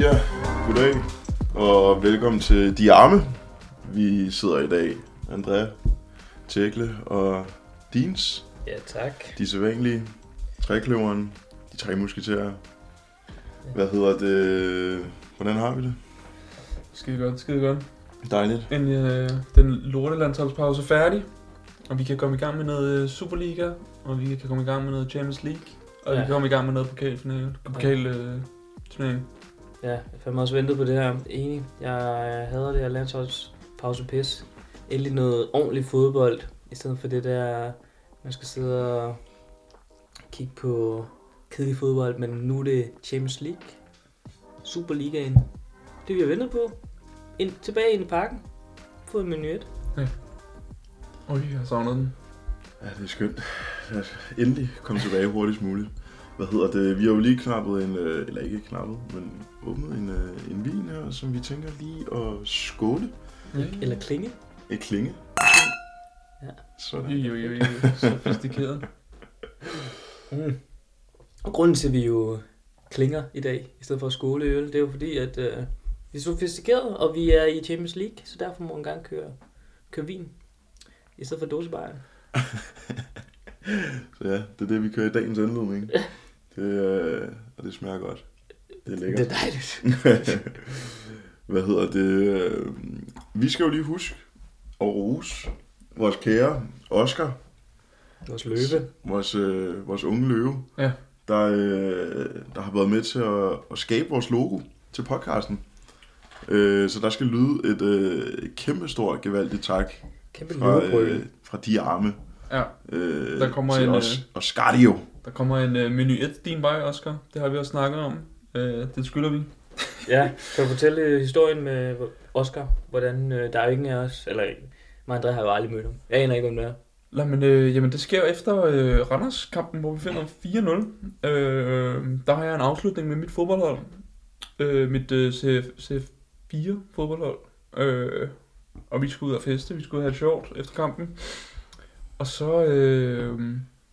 Ja, goddag og velkommen til De Arme. Vi sidder i dag, Andrea, Tjekle og Dins, Ja, tak. de sædvanlige, Trækløveren, de tre musketerer. Hvad hedder det? Hvordan har vi det? Skide godt, skide godt. Dejligt. Endelig øh, den lortelandsholdspause er færdig, og vi kan komme i gang med noget øh, Superliga, og vi kan komme i gang med noget Champions League, og ja. vi Ja. kan komme i gang med noget pokalfinale, pokal, øh, turnering. Ja, jeg har fandme også ventet på det her. Enig. Jeg hader det her landsholdspause pis. Endelig noget ordentlig fodbold, i stedet for det der, man skal sidde og kigge på kedelig fodbold, men nu er det Champions League, Superligaen. Det vi har ventet på. Ind, tilbage ind i parken. Fået en menuet. Ui, jeg savner den. Ja, det er skønt. Lad os endelig komme tilbage hurtigst muligt. Hvad hedder det? Vi har jo lige knappet en, øh, eller ikke knappet, men åbnet en, øh, en vin her, som vi tænker lige at skåle. Eller klinge. Et klinge. Ja. Sådan. Jo, jo, jo, jo. Sofistikeret. Mm. Og grunden til, at vi jo klinger i dag, i stedet for skoleøl, det er jo fordi, at øh, vi er sofistikerede, og vi er i Champions League, så derfor må man gerne køre, køre vin, i stedet for dåsebajer. Så ja, det er det, vi kører i dagens indledning. Det, øh, og det smager godt. Det er Det er lækkert. dejligt. Hvad hedder det? øh, Vi skal jo lige huske at rose vores kære Oscar, Vores løbe. vores, øh, vores unge løve, Ja. der, øh, der har været med til at, at skabe vores logo til podcasten. Øh, så der skal lyde et øh, kæmpestort, gevaldigt tak Kæmpe fra, øh, løbebrøl. fra de arme. Ja, Øh, Der kommer til en, os, og Scardio. der kommer en øh, menu 1 din vej, Oscar. Det har vi også snakket om. Øh, det skylder vi. Ja, kan du fortælle øh, historien med Oscar? Hvordan, øh, der er jo ingen af os, eller mig og André har jo aldrig mødt ham. Jeg aner ikke, om det er. Nej, men, øh, jamen, det sker jo efter øh, Randers-kampen, hvor vi finder 4-0. Øh, der har jeg en afslutning med mit fodboldhold. Øh, mit øh, CF, CF4-fodboldhold. Øh, og vi skulle ud og feste, vi skulle have det sjovt efter kampen. Og så, øh,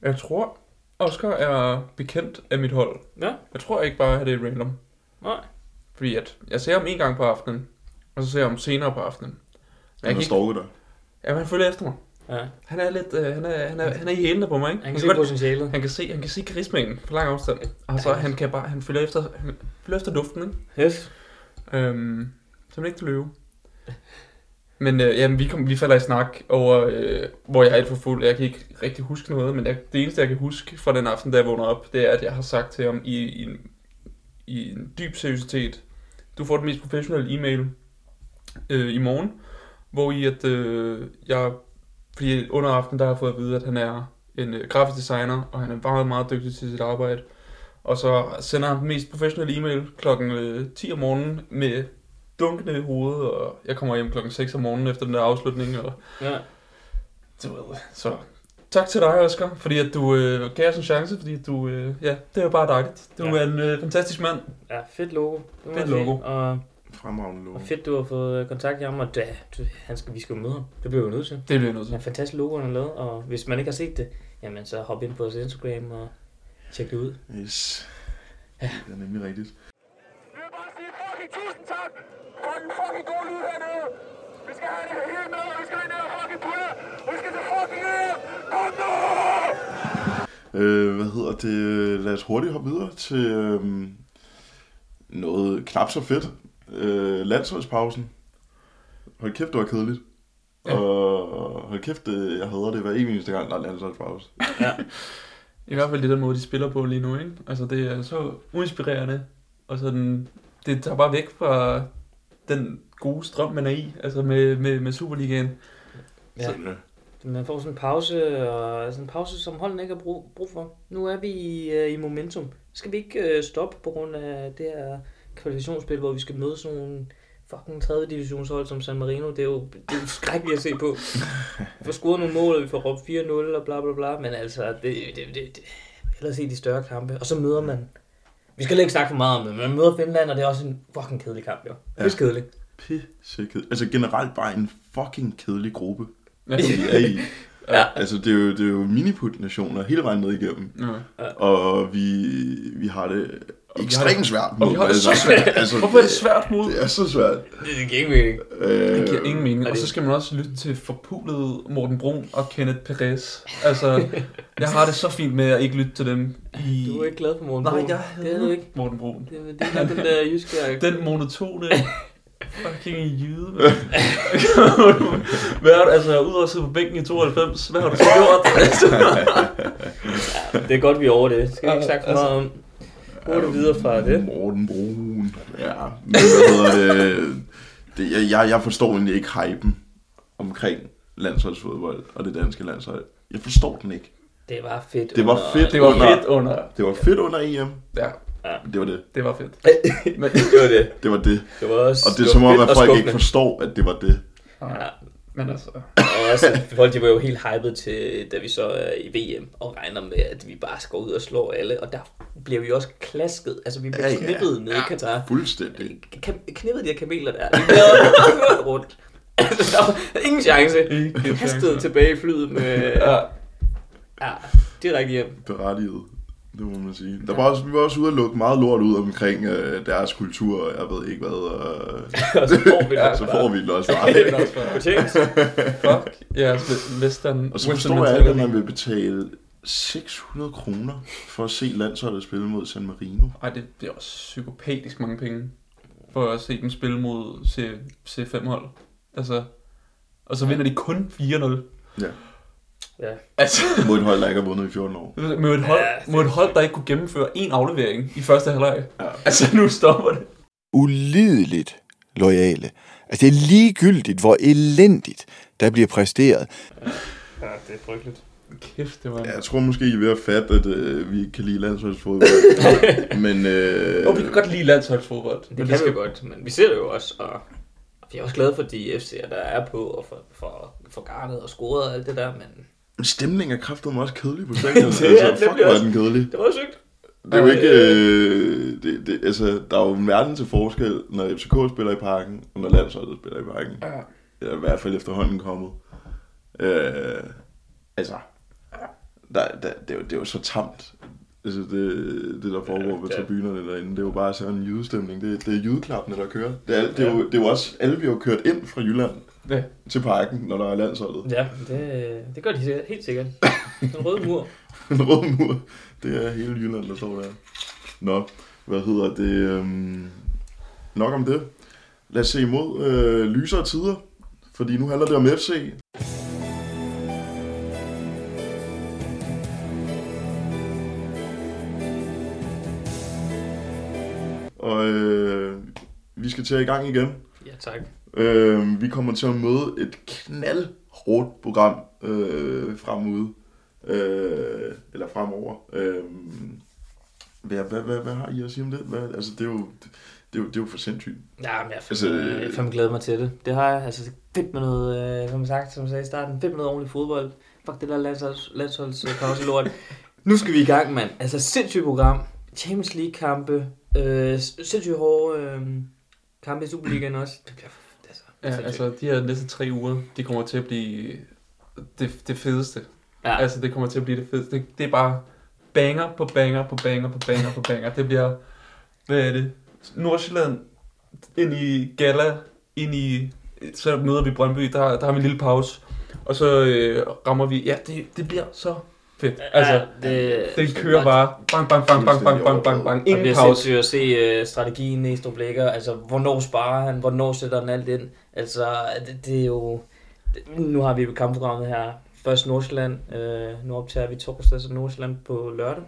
jeg tror, Oscar er bekendt af mit hold. Ja. Jeg tror ikke bare, at det er random. Nej. Fordi at jeg ser ham en gang på aftenen, og så ser jeg ham senere på aftenen. Men jeg Han kan har stalket ikke, dig. jamen, han følger efter mig. Ja. Han er lidt, øh, han, er, han, er, han er i hælene på mig, ikke? Han kan kan se godt- potentialet. han kan se, han kan se karismaen på lang afstand. Altså, han kan bare, han følger efter, han følger efter duften, ikke? Yes. Øhm, så er man ikke til løve. Men øh, jamen, vi, kom, vi falder i snak over, øh, hvor jeg er alt for fuld. Jeg kan ikke rigtig huske noget, men jeg, det eneste, jeg kan huske fra den aften, da jeg vågner op, det er, at jeg har sagt til ham i, i, en, i en dyb seriøsitet, du får den mest professionelle e-mail øh, i morgen, hvor i at øh, jeg, fordi under aftenen, der har jeg fået at vide, at han er en øh, grafisk designer, og han er meget, meget dygtig til sit arbejde. Og så sender han den mest professionelle e-mail kl. 10 om morgenen med dunkende hoved, og jeg kommer hjem klokken 6 om morgenen efter den der afslutning, og Ja. du ved, så tak til dig, Oscar, fordi at du øh, gav os en chance, fordi at du, øh, ja, det er jo bare dejligt. Du Ja. ja. er en øh, fantastisk mand. Ja, fedt logo. Det må Fedt jeg sige. logo. Og Fremragende lov. Og fedt, du har fået øh, kontakt med ham, og da, du, han skal, vi skal jo møde ham. Det bliver vi jo nødt til. Det bliver jeg nødt Det er en fantastisk logo, han har lavet, og hvis man ikke har set det, jamen så hop ind på vores Instagram og tjek det ud. Yes. Det er nemlig rigtigt. Vi vil bare sige fucking tusind tak for den fucking gode lyd hernede. Vi skal have det hele med, og vi skal ind og fucking pulle. Og vi skal til fucking hjem. Kom Øh, nu! hvad hedder det? Lad os hurtigt hoppe videre til øh, noget knap så fedt. Øh, landsholdspausen. Hold kæft, det var kedeligt. Ja. Ja. Og hold kæft, det, jeg hader det hver evig eneste gang, der er landsholdspause. I hvert fald det der måde, de spiller på lige nu, ikke? Altså, det er så uinspirerende, og sådan, det tager bare væk fra den gode strøm, man er i, altså med, med, med Superligaen. Ja. Sådan, øh, Man får sådan en pause, og sådan en pause, som holdene ikke har brug, brug for. Nu er vi i, øh, i momentum. Skal vi ikke øh, stoppe på grund af det her kvalifikationsspil, hvor vi skal møde sådan nogle fucking 3. divisionshold som San Marino. Det er jo, det er jo skrækkeligt at se på. Vi får scoret nogle mål, og vi får råbt 4-0 og bla bla bla. Men altså, det, det, det, det. hellere se de større kampe. Og så møder man... Vi skal heller ikke snakke for meget om det, men man møder Finland, og det er også en fucking kedelig kamp, jo. Det er Ja. kedeligt. Pisse kedeligt. Altså generelt bare en fucking kedelig gruppe, Ja. vi er i. Ja. Altså, det er jo, det er jo miniput-nationer hele vejen ned igennem. ja. Og vi, vi har det vi har ekstremt svært Og vi har det så svært. altså, Hvorfor er det svært mod? Det er så svært. Det giver ikke mening. Øh, Det giver ingen mening. Og Og så det- skal man også lytte til forpulede Morten Brun og Kenneth Perez. Altså, jeg har det så fint med at ikke lytte til dem i... Du er ikke glad for Morten Nej, Brun. jeg Det er du hader ikke. ikke. Morten Brun. Det, det er nok den der jyske... Den monotone fucking jyde, mand. hvad har du, altså, udover at sidde på bænken i 92, hvad har du så gjort? Altså, Det er godt, vi er over det. Skal vi ikke snakke for altså- meget om? Hurtigt videre fra det. Morten Brun. Ja, men hvad hedder det? det jeg, jeg, jeg forstår egentlig ikke hypen omkring landsholdsfodbold og det danske landshold. Jeg forstår den ikke. Det var fedt. Det var og- fedt. det var fedt under... Det var fedt under EM. Ja, Det var det. det var fedt. Men, det var det. Det var det. Det var også Og det var er som om, fedt at og folk ikke skuffende. forstår, at det var det. ja, men altså... Og også, folk de var jo helt hyped til, da vi så er i VM, og regner med, at vi bare skal ud og slå alle. Og der bliver vi også klasket. Altså, vi bliver Ja, ja. knippet nede i Katar. Fuldstændig. Kam- knippet de her kameler der. Vi bliver kørt rundt. Altså, der var ingen chance. Ikke Kastet tilbage i flyet med... Ja, Ja, direkte hjem. Berettiget. Det må man sige. Der var også, vi var også ude og lukke meget lort ud omkring øh, deres kultur, og jeg ved ikke hvad. Og, Og så får vi det. så får vi det også det bare. er også for- Fortjent. Fuck, ja, yes, western. Og så western forstår jeg ikke, at man mentality. vil betale 600 kroner for at se landsholdet spille mod San Marino. Ej, det, det er også psykopatisk mange penge. For at se dem spille mod C, C5-hold. Altså, og så vinder de kun 4-0. Ja. Ja. Altså, Mod et hold, der ikke har vundet i 14 år. mod et, hold, Ja, mod et hold, der ikke kunne gennemføre en aflevering i første halvleg. Ja. Altså, nu stopper det. ulideligt lojale. Altså, det er ligegyldigt, hvor elendigt der bliver præsteret. Ja, det er frygteligt. Kæft, det var... Ja, Ja. jeg tror måske, I er ved at fatte, at øh, vi ikke kan lide landsholdsfodbold. Men øh, Og vi kan godt lide landsholdsfodbold. Det kan vi jo godt, men vi ser det jo også, og vi er også glade for de FC'er, der er på, og for, for, for garnet og scoret og alt det der, men stemningen er kraftedeme også kedelig på stadion. altså, er den fuck, nemlig hvor er også. den kedelig. det var jo sygt. Det er jo ikke... Øh, det, det, altså, der er jo en verden til forskel, når FCK spiller i parken, og når landsholdet spiller i parken. Ja. Eller i hvert fald efterhånden kommet. Øh, altså, der, der, det, er jo, det er jo så tamt. Altså, det, det der foregår på det er- tribunerne derinde, det er jo bare sådan en jydestemning. Det, det er jydeklappene, der kører. Det er, det, er jo, det er jo også, alle vi har jo kørt ind fra Jylland Ja. til parken, når der er landsholdet. Ja, det, det gør de sikkert- helt sikkert. Den røde mur. En rød mur. Det er hele Jylland, der står der. Nå, hvad hedder det? Øhm, nok om det. Lad os se imod øh, lysere tider, fordi nu handler det om FC. Og øh, vi skal til at i gang igen. Ja, tak. Øh, vi kommer til at møde et knaldhårdt program øh, fremude. Øh, eller fremover. Øh, hvad, hvad, hvad, hvad har I at sige om det? Hvad, altså, det er jo... Det er, jo, det er jo for sindssygt. Ja, men jeg Altså, øh, har fandme glædet mig til det. Det har jeg. Altså, fedt med noget, øh, som sagt, som jeg sagde i starten, fedt med noget ordentlig fodbold. Fuck det der landsholds, landsholds øh, pause lort. nu skal vi i gang, mand. Altså, sindssygt program. Champions League-kampe. Øh, sindssygt hårde øh, kampe i Superligaen også. Det bliver det er så ja, sindssygt. altså, de her næste tre uger, de kommer til at blive det, det fedeste. ja. Altså, det kommer til at blive det fedeste. Det, det er bare banger på banger på banger på banger på banger. Det bliver, hvad er det? Nordsjælland, ind i Gala, ind i... Så møder vi Brøndby, der, der har vi en lille pause. Og så øh, rammer vi... Ja, det, det bliver så fedt. Altså, det, det kører bare. Bang, bang, bang, bang, bang, bang, bang, bang. Ingen Ingen det pause. bliver at se uh, strategien i Strup Lækker. Altså, hvornår sparer han? Hvornår sætter han alt ind? Altså, det, det er jo... det- Nu har vi jo kampprogrammet her. Først Nordsjælland. Øh, nu optager vi torsdag, så Nordsjælland på lørdag.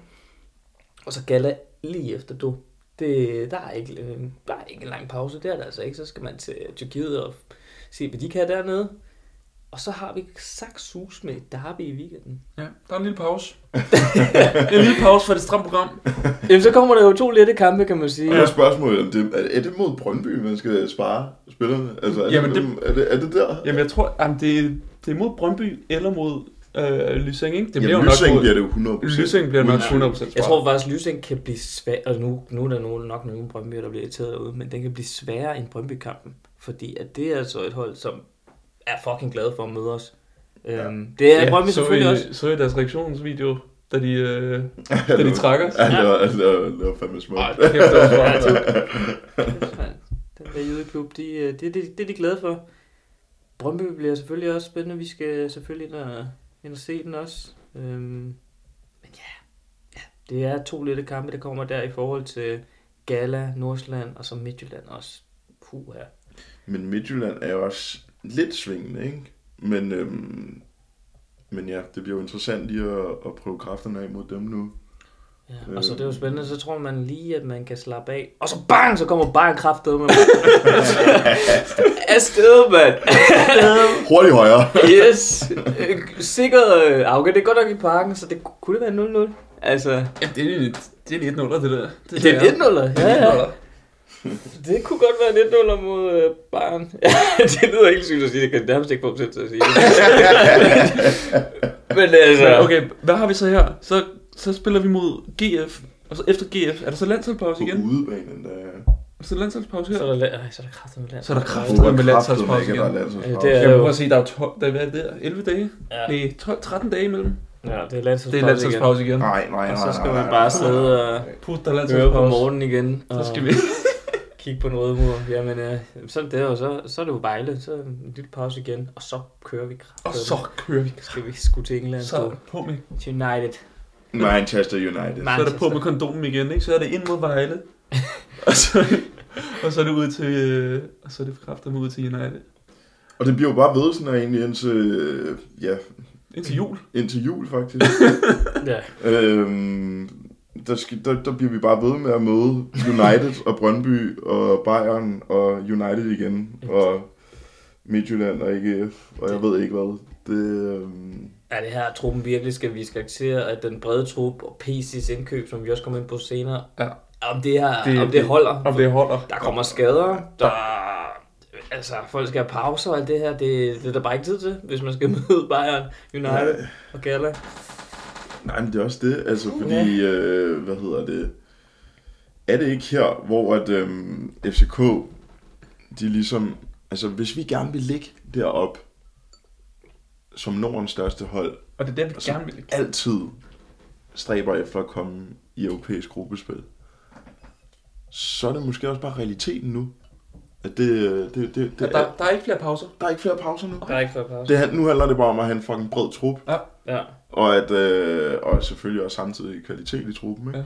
Og så Gala lige efter du. Det, der, er ikke, øh, der er ikke en lang pause der, der altså ikke. Så skal man til Tyrkiet og se, hvad de kan dernede. Og så har vi Saxus med et derby i weekenden. Ja, der er en lille pause. en lille pause for det stramme program. Jamen, så kommer der jo to lette kampe, kan man sige. Og jeg har et spørgsmål om det. Er, er det mod Brøndby, man skal spare spillerne? Altså, er, Jamen, det, det- er, det, er det der? Jamen, jeg tror, jamen, det, det er mod Brøndby eller mod øh, Lysing, ikke? Det Jamen, jo nok Lysing mod- bliver det jo 100%. Lysing bliver nok Uden- 100% svar. Jeg tror faktisk, at Lysing kan blive svær, og nu, nu er der nogen, nok nogen Brøndby, der bliver irriteret derude, men den kan blive sværere end Brøndby-kampen, fordi at det er altså et hold, som er fucking glad for at møde os. Ja. Øhm, det er ja, Brøndby så selvfølgelig I, også. Så I deres reaktionsvideo da de, øh, da de trækker os. Ja, det var, det var, det var fandme smukt. Ej, kæft, det var Ja, det smart. Den der jødeklub, de, øh, det, det, det er de glade for. Brøndby bliver selvfølgelig også spændende. Vi skal selvfølgelig ind og, ind og se den også. Øhm, men ja, ja, det er to lette kampe, der kommer der i forhold til Gala, Nordsjælland og så Midtjylland også. Puh her. Men Midtjylland er jo også lidt svingende, ikke? Men, øhm, men ja, det bliver jo interessant lige at, at prøve kræfterne af mod dem nu. Ja, og Øh. så det er jo spændende, så tror man lige, at man kan slappe af. Og så bang, så kommer bare en kraftedeme. med. Afsted, mand. Hurtigt højere! Yes. Øh, Sikkert øh, afgør. Det er godt nok i parken, så det ku- kunne det være 0-0. Altså, Ja, det er en, det er en 1 det der. det er en 1-0'er. Ja, ja. 1-0'er. Det kunne godt være en 1-0'er mod øh, Bayern. Ja, det lyder helt sygt at sige. Det kan jeg nærmest ikke få mig selv til at sige. Men altså... Så, okay, hvad har vi så her? Så, så spiller vi mod GF, og så efter GF, er der så landsholdspause På Uh. igen? udebanen, der Så landsholdspause Så her? er der, øh, så er der kraft med land. Så er der kraft Hvor med kraftedeme landsholdspause ikke, at igen. der er landsholdspause. Ja, det er- Jeg prøver at se, der er jo 12, der, hvad er det der? 11 dage? Ja. Nej, 12, 13 dage imellem. Ja, det er Det er landsholdspause igen. landsholdspause igen. Nej, nej, nej, Og så skal nej, man nej, bare nej. sidde og Put, der er høre på landsholdspause. morgen igen. Og... Så skal vi... kigge på en rød mur. Jamen, øh, sådan der, og så, så er det jo Vejle. Så en lille pause igen, og så kører vi kraft. Og så kører vi. skal vi sgu til England Så er så. der på med, til United. Manchester United. Nej. så er der på med kondomen igen, ikke? Så er det ind mod Vejle. og, så, og så er det ud til... øh, Og så er det kræfter ud til United. Og det bliver jo bare ved sådan her egentlig indtil, øh, ja, Indtil jul. indtil jul faktisk. Ja. øhm, der, skal, der, der bliver vi bare ved med at møde United og Brøndby og Bayern og United igen. Og Midtjylland og AGF og jeg ved ikke hvad. Det, øhm, ja, det her truppen virkelig skal vi skal aktivere, at den brede trup og PC's indkøb, som vi også kommer ind på senere, Ja. om det, her, Det- det, om det holder. Om det holder. Der kommer skader, der... Altså, folk skal have pauser og alt det her, det, det er der bare ikke tid til, hvis man skal møde Bayern, United Nej. og Gala. nej, men det er også det. Altså fordi, øh, hvad hedder det? Er det ikke her, hvor at øhm, FCK, de ligesom, altså hvis vi gerne vil ligge derop som Nordens største hold, Og det er der, vi så- gerne vil. altid stræber efter at komme i europæisk gruppespil, så er det måske også bare realiteten nu. At det, øh, det, det, det Ja, er, der, der, der er ikke flere pauser. er ikke flere pauser nu. Der er ikke før pause. Det, her- nu handler det bare om at have en fucking bred trup, Ja. Ja. og, at, øh, og selvfølgelig også samtidig kvalitet i truppen. Ikke?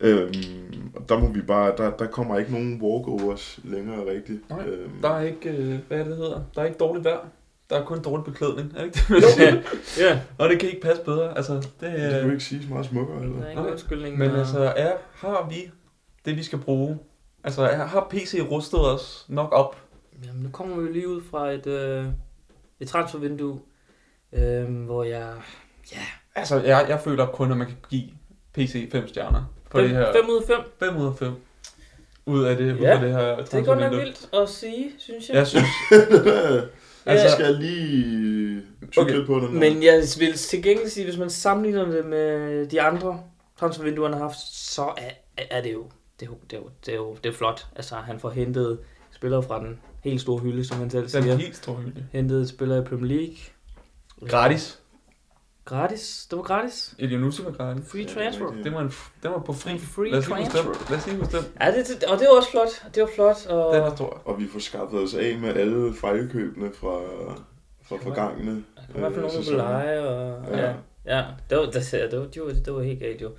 Øhm, og der må vi bare, der, der kommer ikke nogen walkovers længere rigtigt. Nej, øhm, Der er ikke, øh, hvad er det det hedder? Der er ikke dårligt vejr. Der er kun dårlig beklædning, er det ikke det, man siger? Ja, Og det kan ikke passe bedre. Altså, det, det kan øh, du ikke sige så meget smukkere. der er Eller? ingen undskyldning. men og- altså, er, har vi det, vi skal bruge? Altså, er, har PC rustet os nok op? Jamen, nu kommer vi jo lige ud fra et, øh, et transfervindue, øh, hvor jeg... Altså, jeg, jeg føler kun, at man kan give PC 5 stjerner på det her. 5 ud af 5. 5 ud af 5. Ud af det, ud Ja, af det her Det er godt nok transfervindue. vildt at sige, synes jeg. Jeg synes, altså, Ja. skal jeg lige tykke Okay, lidt på den. her. Men jeg vil til gengæld sige, hvis man sammenligner det med de andre transfervinduer, han har haft, så er, er det jo det er jo, det er jo, det er jo det er flot. Altså, han får hentet spillere fra den helt store hylde, som han selv den er siger. helt stor hylde. Hentet spillere i Premier League. Gratis. Gratis. Det var gratis. Elionusi var gratis. Free transfer. Det var, en, den var på fri. En free Lad os lige huske den. transfer. Lad os lige huske den. Ja, det, det, og det var også flot. Det var flot. Og... Den er stor. Og vi får skaffet os af med alle fejlkøbene fra, fra forgangne. Der var i hvert fald øh, nogen, der sæsoner. ville lege, og... Ja. Ja. ja. det var, der, ser jeg, det, var, det, var, det var helt galt jo.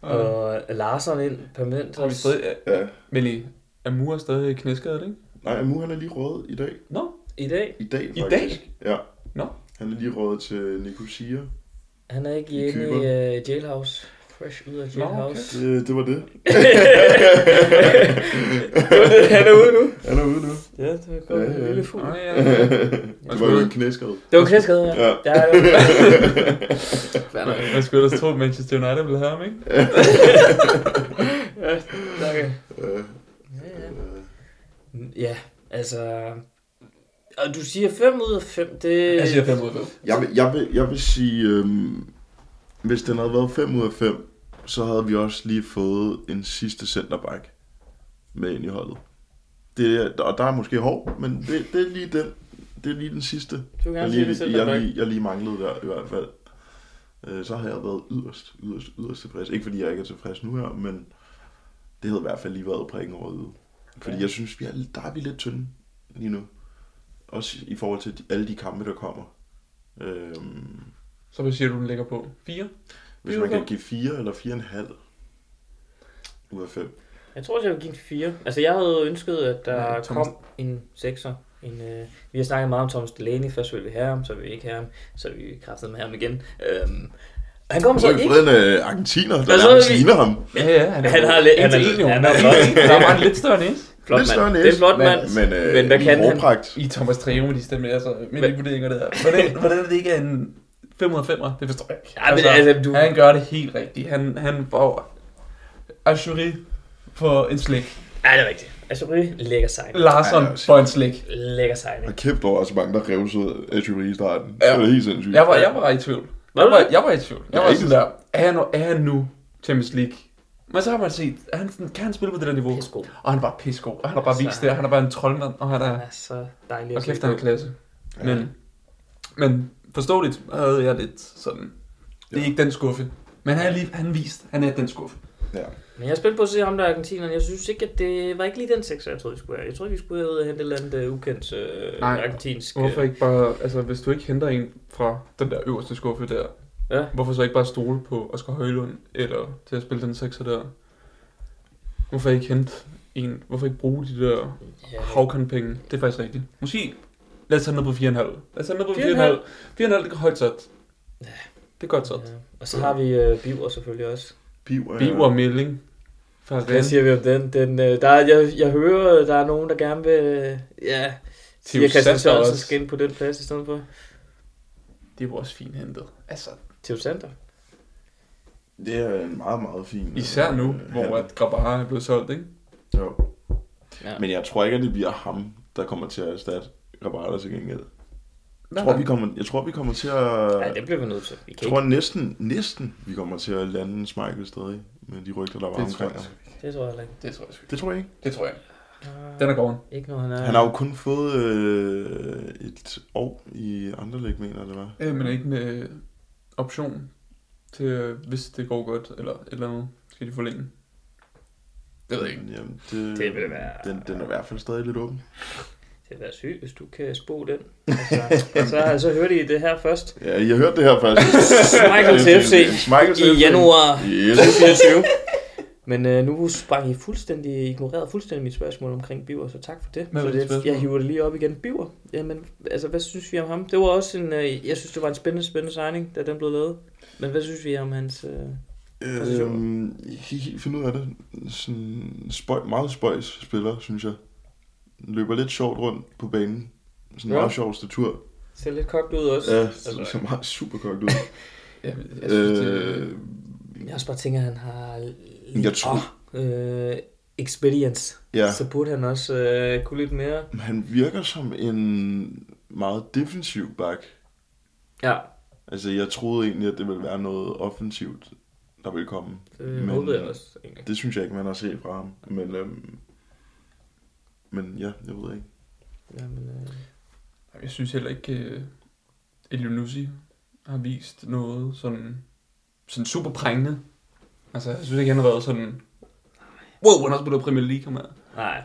og Larsen ind permanent. Har vi også. stadig, Ja. Men i Amur er stadig knæskadet, ikke? Nej, Amu han er lige rådet i dag. Nå, I dag, I dag I faktisk. dag? Ja. Nå. Han er lige rådet til Nicosia. han er ikke I hjemme i Cypern. uh, jailhouse. Fresh ud af Nå, okay. jailhouse. Det, det var det. Okay. han er ude nu. Han er ude nu. Ja, det var godt. Ja, ja. en lille fugl. nej, ja. det var jo en knæskade. Det var knæskade, ja. Ja. ja. det var- Fair nok. Man skulle ellers tro, at Manchester United ville have ham, ikke? Ja, tak. Ja. Ja, ja. Øh, Ja, altså... Og du siger 5 ud af 5, det... Altså, Jeg siger 5 ud af 5. Jeg vil, jeg vil, jeg vil sige, øhm, hvis den havde været 5 ud af 5, så havde vi også lige fået en sidste centerback med ind i holdet. Det er, og der er måske hård, men det, det er lige den. Det er lige den sidste. Du kan Jeg gerne sige lige, det selv, jeg, Danmark. lige, jeg lige manglede der i hvert fald. øh, så har jeg været yderst, yderst, yderst tilfreds. Ikke fordi jeg ikke er tilfreds nu her, men det havde i hvert fald lige været prikken over øjet. Fordi Ja. jeg synes, vi er, der er vi lidt tynde lige nu. Også i forhold til de, alle de kampe, der kommer. Øhm, Så hvad siger du, den ligger på? 4? hvis man kan give 4 eller 4,5 ud af 5. Jeg tror også, jeg vil give en 4. Altså, jeg havde ønsket, at der Ja, ja, Thomas- kom en 6'er. En, øh, vi har snakket meget om Thomas Delaney. Først ville vi have ham, så ville vi ikke have ham. Så ville vi kræftede med ham igen. Øhm, han kommer Så så har vi ikke. fået en øh, argentiner, der Og så nærmest er vi- ligner ham. Ja, ja. Han, er Han jo har lidt- en han til er- en, jo. han er flot. Der er bare en lidt større næse. Flot Lidt større mand. næse, Det er en flot men- mand. Men, øh, Men hvad i kan han? hårpragt. I Thomas Treo med de stemmer, altså mine Hvad- vurderinger der. Hvordan, hvordan er det ikke er en 505'er? Det forstår jeg ikke. Ja, men altså, du- Han gør det helt rigtigt. Han, han får Ashuri for en slik. Ja, det er rigtigt. Altså, lækker sej. Larsson Ej, det er for en slik. Lækker sej. Og kæft, der var også mange, der revsede Ashuri i starten. Ja. Ja. Det var helt sindssygt. Jeg var, jeg var i tvivl. Var jeg, du var, det? jeg var i tvivl. Jeg Ja, var ikke? sådan der, er han, nu- er han nu Champions League? Men så har man set, er han, sådan- kan han spille på det der niveau? Pissegod. Og han er bare pissegod. Og han har bare Altså, vist det, og han er bare en troldmand, og han er... er så dejlig Og at se kæft, han er på. klasse. Men, men forståeligt havde jeg lidt sådan... Det er Ja. ikke den skuffe. Men han, er lige, han vist, han er den skuffe. Ja. Men jeg er spændt på at se ham der argentineren. Jeg synes ikke, at det var ikke lige den sekser, jeg troede, vi skulle have. Jeg troede, vi skulle have ud og hente et eller andet uh, ukendt uh, Nej. argentinsk. øh, Hvorfor ikke bare... Altså, hvis du ikke henter en fra den der øverste skuffe der, Ja. hvorfor så ikke bare stole på Oscar Højlund eller til at spille den sekser der? Hvorfor ikke hente en? Hvorfor ikke bruge de der Ja. havkandpenge? Det er faktisk rigtigt. Måske... Lad os tage ned på 4,5. Lad os tage ned på 4,5. 4,5 4,5. det er højt sat. Det er godt sat. ja. Og så har vi uh, Biver selvfølgelig også. Biver, Biver Milling. Farren. Hvad siger vi om den? den øh, der er, jeg, jeg hører, øh, der er nogen, der gerne vil... øh, ja, siger Christian Sander Sørensen også. skal ind på den plads i stedet for. Det var også fint hentet. Altså, Theo Sander. Det er en meget, meget fin... især nu, øh, hvor handel. at Grabara er blevet solgt, ikke? Jo. Ja. Men jeg tror ikke, at det bliver ham, der kommer til at erstatte Rabada til gengæld. Jeg Nej, tror, nej. vi kommer, jeg tror, vi kommer til at... Ja, det bliver vi nødt til. Vi kan Jeg tror næsten, næsten, vi kommer til at lande en Michael stadig med de rygter, der var Det tror omkring jeg ham. sgu ikke. ikke. Det tror jeg heller ikke. Det tror jeg sgu ikke. Det tror jeg ikke. Det tror jeg. ikke. Den er gården. Ikke når han er... Han har jo kun fået øh, et år i andre læg, mener jeg, det var. Øh, men ikke med option til, øh, hvis det går godt, eller et eller andet, skal de forlænge. Det ved jeg ikke. Jamen, det, Det vil være- Den, den er i hvert fald stadig lidt åben. Det vil være sygt, hvis du kan spå den. Altså, så, så hørte I det her først. Ja, I har hørt det her først. Michael til FC Michael i januar Yes. 2024. Men øh, nu sprang I fuldstændig, ignorerede fuldstændig mit spørgsmål omkring Biver, så tak for det. Hvad så var dit det spørgsmål? jeg hiver det lige op igen. Biver, jamen, altså, hvad synes vi om ham? Det var også en, øh, jeg synes, det var en spændende, spændende signing, da den blev lavet. Men hvad synes vi om hans... Øh... Øhm, helt, helt finde ud af det. Sådan spøj, meget spøjs spiller, synes jeg. Løber lidt sjovt rundt på banen. Sådan en Ja. meget sjov statur. Ser lidt kogt ud også. Ja, altså, så meget super kogt ud. Ja, men jeg synes, det, øh, jeg også bare tænker, at han har... lidt- Jeg tror- Åh, øh, experience. Ja. Så burde han også øh, kunne lidt mere. han virker som en meget defensiv bak. Ja, Altså, jeg troede egentlig, at det ville være noget offensivt, der ville komme. det håbede jeg også. Egentlig. Det synes jeg ikke, man har set fra ham. Men, øhm, men ja, jeg ved ikke. Jamen, øh... jeg synes heller ikke, uh, Elionussi har vist noget sådan, sådan super prængende. Altså, jeg synes ikke, han har været sådan... Wow, han har spillet Premier League, ham her. Nej,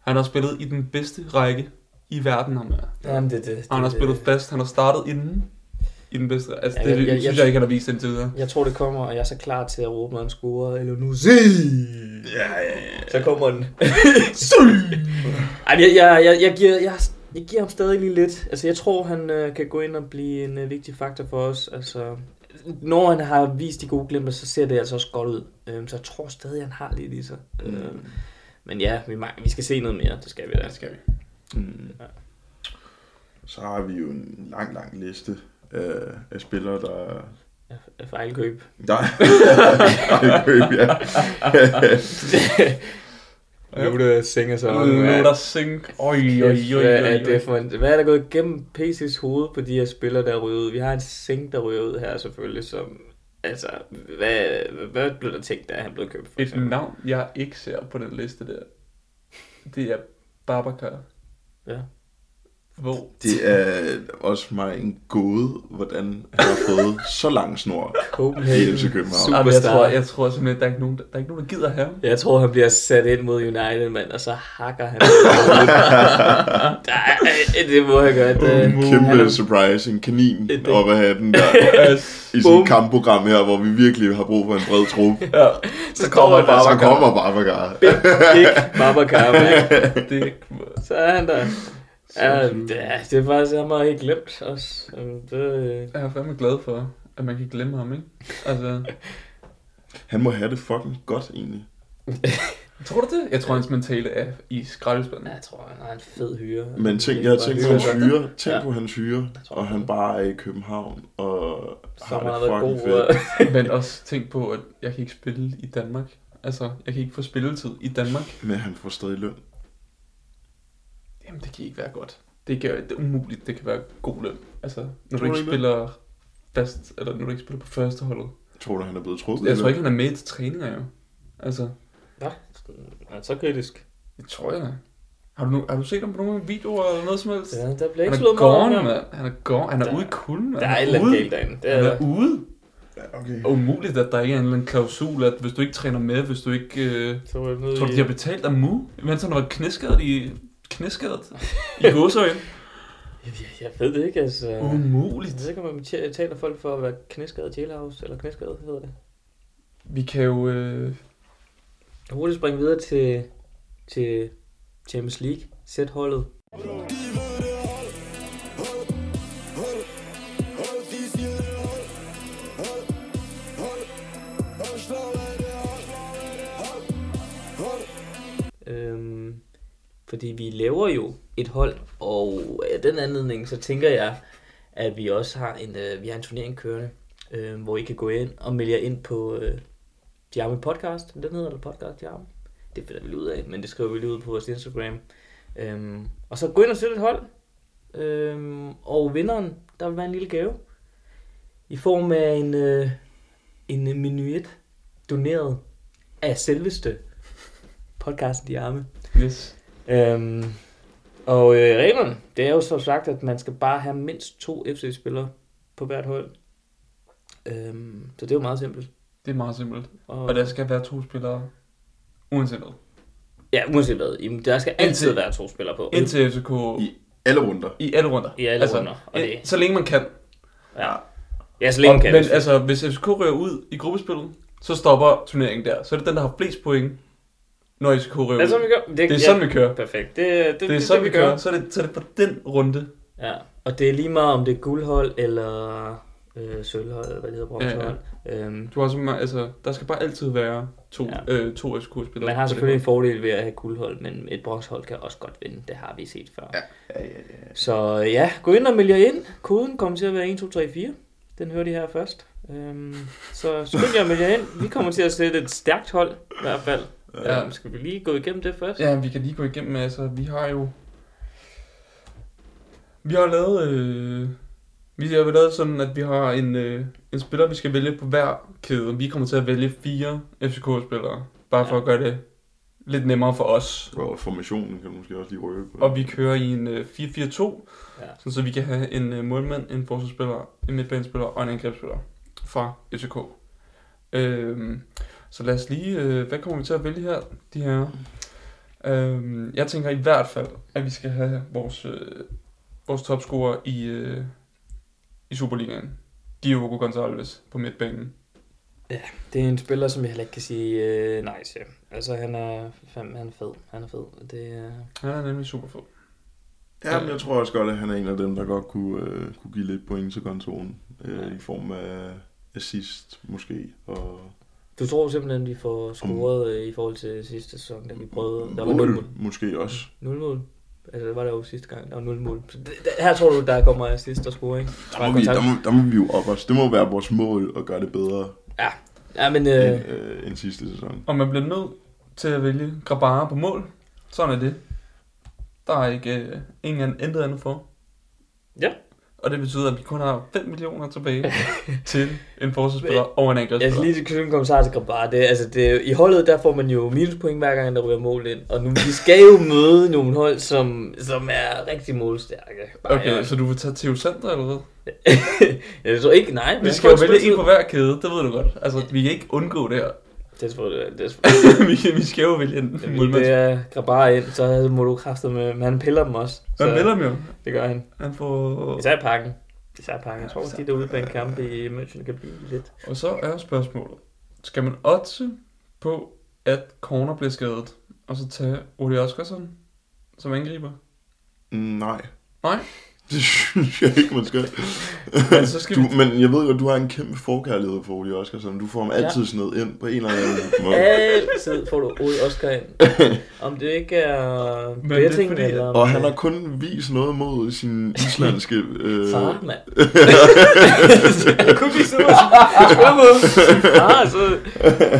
Han har spillet i den bedste række i verden, ham er. Jamen, det, det, det, Og han har det- spillet fast, han har startet inden i den bedste række. Altså, Ja, det, jeg- det jeg- synes jeg, jeg- ikke, han har vist indtil videre. Jeg tror, det kommer, og jeg er så klar til at råbe, når han scorer. Eller nu se! Ja, ja, ja. Så kommer den. Ej, men jeg, jeg, jeg, jeg, giver, jeg, jeg giver ham stadig lige lidt. Altså, jeg tror, han øh, kan gå ind og blive en øh, vigtig faktor for os. Altså, når han har vist de gode glimter, så ser det altså også godt ud. Øhm, så jeg tror stadig, han har lidt i sig. Øhm, men ja, vi, mag- vi skal se noget mere. Det skal vi da. skal vi. Mm. Så har vi jo en lang, lang liste af, af spillere, der... Af Fejlkøb. Der er køb, ja. Nu der sænger sig Lothar Sink. Oj, oj, oj, oj, Hvad er det oj. for en, hvad er der gået igennem PC's hoved på de her spillere, der ryger ud? Vi har en seng, der ryger ud her selvfølgelig, som... Altså, hvad, hvad blev der tænkt, da han blev købt? For Et eksempel? navn, jeg ikke ser på den liste der, det er Babacar. Ja. Hvor? Det er også mig en gåde, hvordan han har fået så lang snor i Copenhagen. FC København. Super. Jamen, jeg, Superstar. tror, jeg tror simpelthen, der er ikke nogen, der, der, er ikke nogen, der gider ham. Jeg tror, han bliver sat ind mod United, mand, og så hakker han. der er, det må jeg gøre. Det, En kæmpe surprise, en kanin Det- op af hatten der, Altså, i sådan Bum. et kampprogram her, hvor vi virkelig har brug for en bred trup. Ja, så kommer Og så Babacar. kommer Babacar. Ikke Babacar, mand. det er ikke... Så er han der. Ja, det- det er faktisk, jeg har helt glemt også. Jamen, Det, Jeg er fandme glad for, at man kan glemme ham, ikke? Altså, Han må have det fucking godt, egentlig. tror du det? Jeg tror, hans mentale er i skraldespanden. jeg tror, han har en fed hyre. Men tænk, jeg har tænkt på Det er hans godt. hyre. Tænk Ja. på hans hyre. tror Og han bare er i København. Og Så har han har det været god. fucking fedt. øh, Men også tænk på, at jeg kan ikke spille i Danmark. Altså, jeg kan ikke få spilletid i Danmark. Men han får stadig løn. Jamen, det kan ikke være godt. Det, kan, det er umuligt, det kan være god løn. Altså, når Tror du du ikke ikke det? spiller fast, eller når du ikke spiller på førsteholdet. Tror du, han er blevet trukket? Jeg tror eller? ikke, han er med til træninger, jo. Altså, Nå, er så kritisk. det tror jeg da. Har du, nu, har du set ham på nogle videoer eller noget som helst? Ja, der bliver Han ikke er slået meget om gone, ham. mand. Han er gone. Han er Der- ude i kulden, mand. Der er et Han eller andet ude. galt derinde. Det er Han der. er ude. Ja, okay. Og umuligt, at der ikke er en eller anden klausul, at hvis du ikke træner med, hvis du ikke... Øh, Så er vi nede tror du, i- de har betalt af mu? Mens han var knæskadet i... Knæskadet? I godsøjen? Jeg- Jeg ved det ikke, altså. Umuligt. Så kan man tj- taler folk for at være knæskadet jailhouse, eller knæskadet hedder det. Vi kan jo... Øh, Hurtigt springe videre til, til Champions League. Sæt holdet. Øhm, fordi vi laver jo et hold, og af den anledning, så tænker jeg, at vi også har en, øh, vi har en turnering kørende, øh, hvor I kan gå ind og melde jer ind på øh, Diarme Podcast. Den hedder der Podcast Diarme. Det finder vi lige ud af, men det skriver vi lige ud på vores Instagram. Øhm, og så gå ind og sæt et hold. Øhm, og vinderen, der vil være en lille gave. I form af en, øh, en øh, menuet doneret af selveste podcasten Diarme. yes. Øhm, og øh, reglerne, det er jo så sagt, at man skal bare have mindst to FC-spillere på hvert hold. Øhm, så det er jo meget simpelt. Det er meget simpelt. Og der skal være to spillere, uanset hvad. Ja, uanset hvad. Jamen, der skal altid Indtil- være to spillere på. Indtil FCK I alle runder. i alle runder. I alle runder, og i- det- Så længe man kan. Ja, ja så længe Og- kan Men det. altså, hvis FCK rører ud i gruppespillet, så stopper turneringen der. Så er det den, der har flest point, når FCK rører det er sådan, ud. vi gør. Det er sådan, vi kører. Perfekt. Det, det, Det er sådan, vi kører. Så er det, så er det på den runde. Ja, og det er lige meget, om det er guldhold eller øh, sølvhold, eller hvad det hedder, bronzehold. Ja, ja. Øhm, Du har så meget, altså, der skal bare altid være to, Ja. ja. øh, to FCK-spillere. man har selvfølgelig en fordel ved at have guldhold, men et bronzehold kan også godt vinde. Det har vi set før. Ja. Ja, ja, ja. Så ja, gå ind og meld jer ind. Koden kommer til at være 1, 2, 3, 4. Den hører de her først. Øhm, så skynd jer og meld jer ind. Vi kommer til at sætte et stærkt hold, i hvert fald. Ja. Ja. Øhm, skal vi lige gå igennem det først? Ja, vi kan lige gå igennem, altså, vi har jo... Vi har lavet... Øh, vi har jo lavet sådan, at vi har en, øh, en spiller, vi skal vælge på hver kæde. Vi kommer til at vælge fire FCK-spillere, bare for Ja. at gøre det lidt nemmere for os. Og formationen kan du måske også lige røbe på. Og vi kører i en øh, 4-4-2, Ja. ja. sådan, så vi kan have en øh, målmand, en forsvarsspiller, en midtbanespiller og en angrebsspiller fra FCK. Øhm, så lad os lige, øh, hvad kommer vi til at vælge her, de her? Øhm, jeg tænker i hvert fald, at vi skal have vores, øh, vores topscorer i, øh, i Superligaen. Diogo Gonçalves på midtbanen. Det er en spiller, som jeg heller ikke kan sige øh, nej til. Altså, han er, fandme, han er fed. Han er fed. Det er... Han er nemlig super fed. Ja, men jeg tror også godt, at han er en af dem, der godt kunne, øh, kunne give lidt point til kontoren. Øh, I form af assist, måske. Og Du tror simpelthen, vi får scoret Mm. øh, i forhold til sidste sæson, da vi prøvede... Der var 0 mål. mål, måske også. 0 mål. Altså, det var der jo sidste gang. Der var 0 mål. Så det, det, her tror du, der kommer assist og score, ikke? Der må, vi, der, må, der må vi jo op os. Det må være vores mål at gøre det bedre Ja, men... øh. Øh, end, øh, end sidste sæson. Og man bliver nødt til at vælge Grabara på mål. Sådan er det. Der er ikke øh, ingen, intet andet for. Ja. Og det betyder, at vi kun har 5 millioner tilbage til en forsvarsspiller og en Jeg skal angrebsspiller. lige til knytte en kommentar til Grabar. Det, er- altså, det, er jo- I holdet, der får man jo minuspoint hver gang, der ryger mål ind. Og nu, vi skal jo møde nogle hold, som, som er rigtig målstærke. Okay, så du vil tage Theo Sander eller hvad? jeg tror ikke, nej. men Vi jeg tror, skal jo at vælge spilletid- en på hver kæde, det ved du godt. Altså, vi kan ikke undgå det her. Det tror jeg, det er vi, vi skal jo vælge en det målmand. er Grabar ind, så må du kræfter med, men han piller dem også. Så Han melder dem jo. Det gør han. Han får... Især i pakken. Især i pakken. Jeg tror, at de derude på en kamp i München kan blive lidt. Og så er spørgsmålet. Skal man otte på, at corner bliver skadet, og så tage Ole Oskarsson som angriber? Mm, Nej. Nej. Det synes jeg ikke, man skal. Men så skal du, vi- men jeg ved jo, at du har en kæmpe forkærlighed for Ole Oskarsson. Du får ham altid sned ind på en eller anden måde. Altid får du Ole Oscar ind. Om det ikke er Men det er betting fordi, eller... Og han har kun vist noget mod sin islandske... Øh, Far, mand. Kunne vi så Far, Ah, så...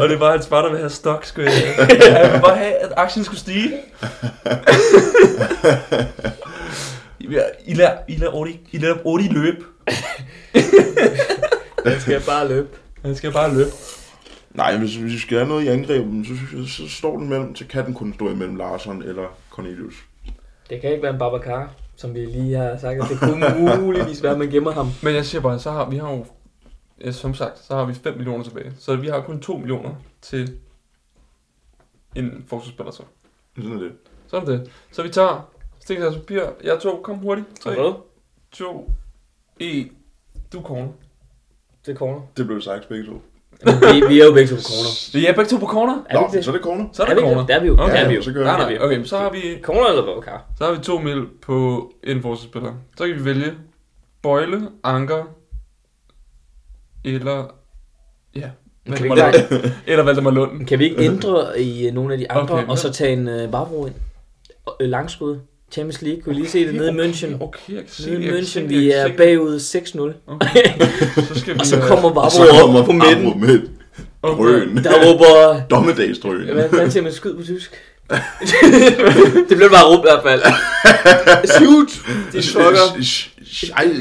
Og det var hans far, der ville have stok, skulle jeg Han ville bare have, at aktien skulle stige. Ja, I lader, I lader, Odi, I lader Odi løbe. Jeg skal bare løbe. Han skal bare løbe. Nej, hvis hvis vi skal have noget i angrebet, så, synes jeg, så står den mellem, så kan den kun stå imellem Larsson eller Cornelius. Det kan ikke være en Babacar, som vi lige har sagt, at det kunne muligvis være, at man gemmer ham. Men jeg siger bare, så har vi har jo, ja, som sagt, så har vi 5 millioner tilbage. Så vi har kun 2 millioner til en forsvarsspiller så. Sådan er det. Sådan er det. Så vi tager stik og papir. Jeg to, kom hurtigt. 3, Hvad? 2, 1. Du corner. Det er corner. Det blev sagt begge to. Vi, vi er jo begge to corner. Det er begge to på corner. Er det Nå, ikke det? så er det corner. Så er Er der vi ikke corner. det? Der er vi jo. Okay. Der er vi Ja, jo. så kører Nej, vi. nej, okay, men så har vi Corner eller Babacar? Så har vi to mil på en forsvarsspiller. Så kan vi vælge Bøjle, Anker, eller... Ja, Kan vi, Valdemar ikke, Lund. Eller Valdemar Lund. kan vi ikke ændre i øh, nogle af de andre, Okay, og så tage en uh, Varbro ind? Og, øh, langskud. Champions League, kunne I lige se det nede i München? Okay, jeg kan se, Nede i jeg kan München, se, vi jeg kan er se. bagud 6-0. Okay, så skal vi... Og så øh, kommer Og så kommer Varbro på midten. Amro med okay. drøen. Der råber... øh, Dommedagsdrøen. Hvad fanden siger man skyd på tysk? det blev bare råb i hvert fald. Shoot! De fucker.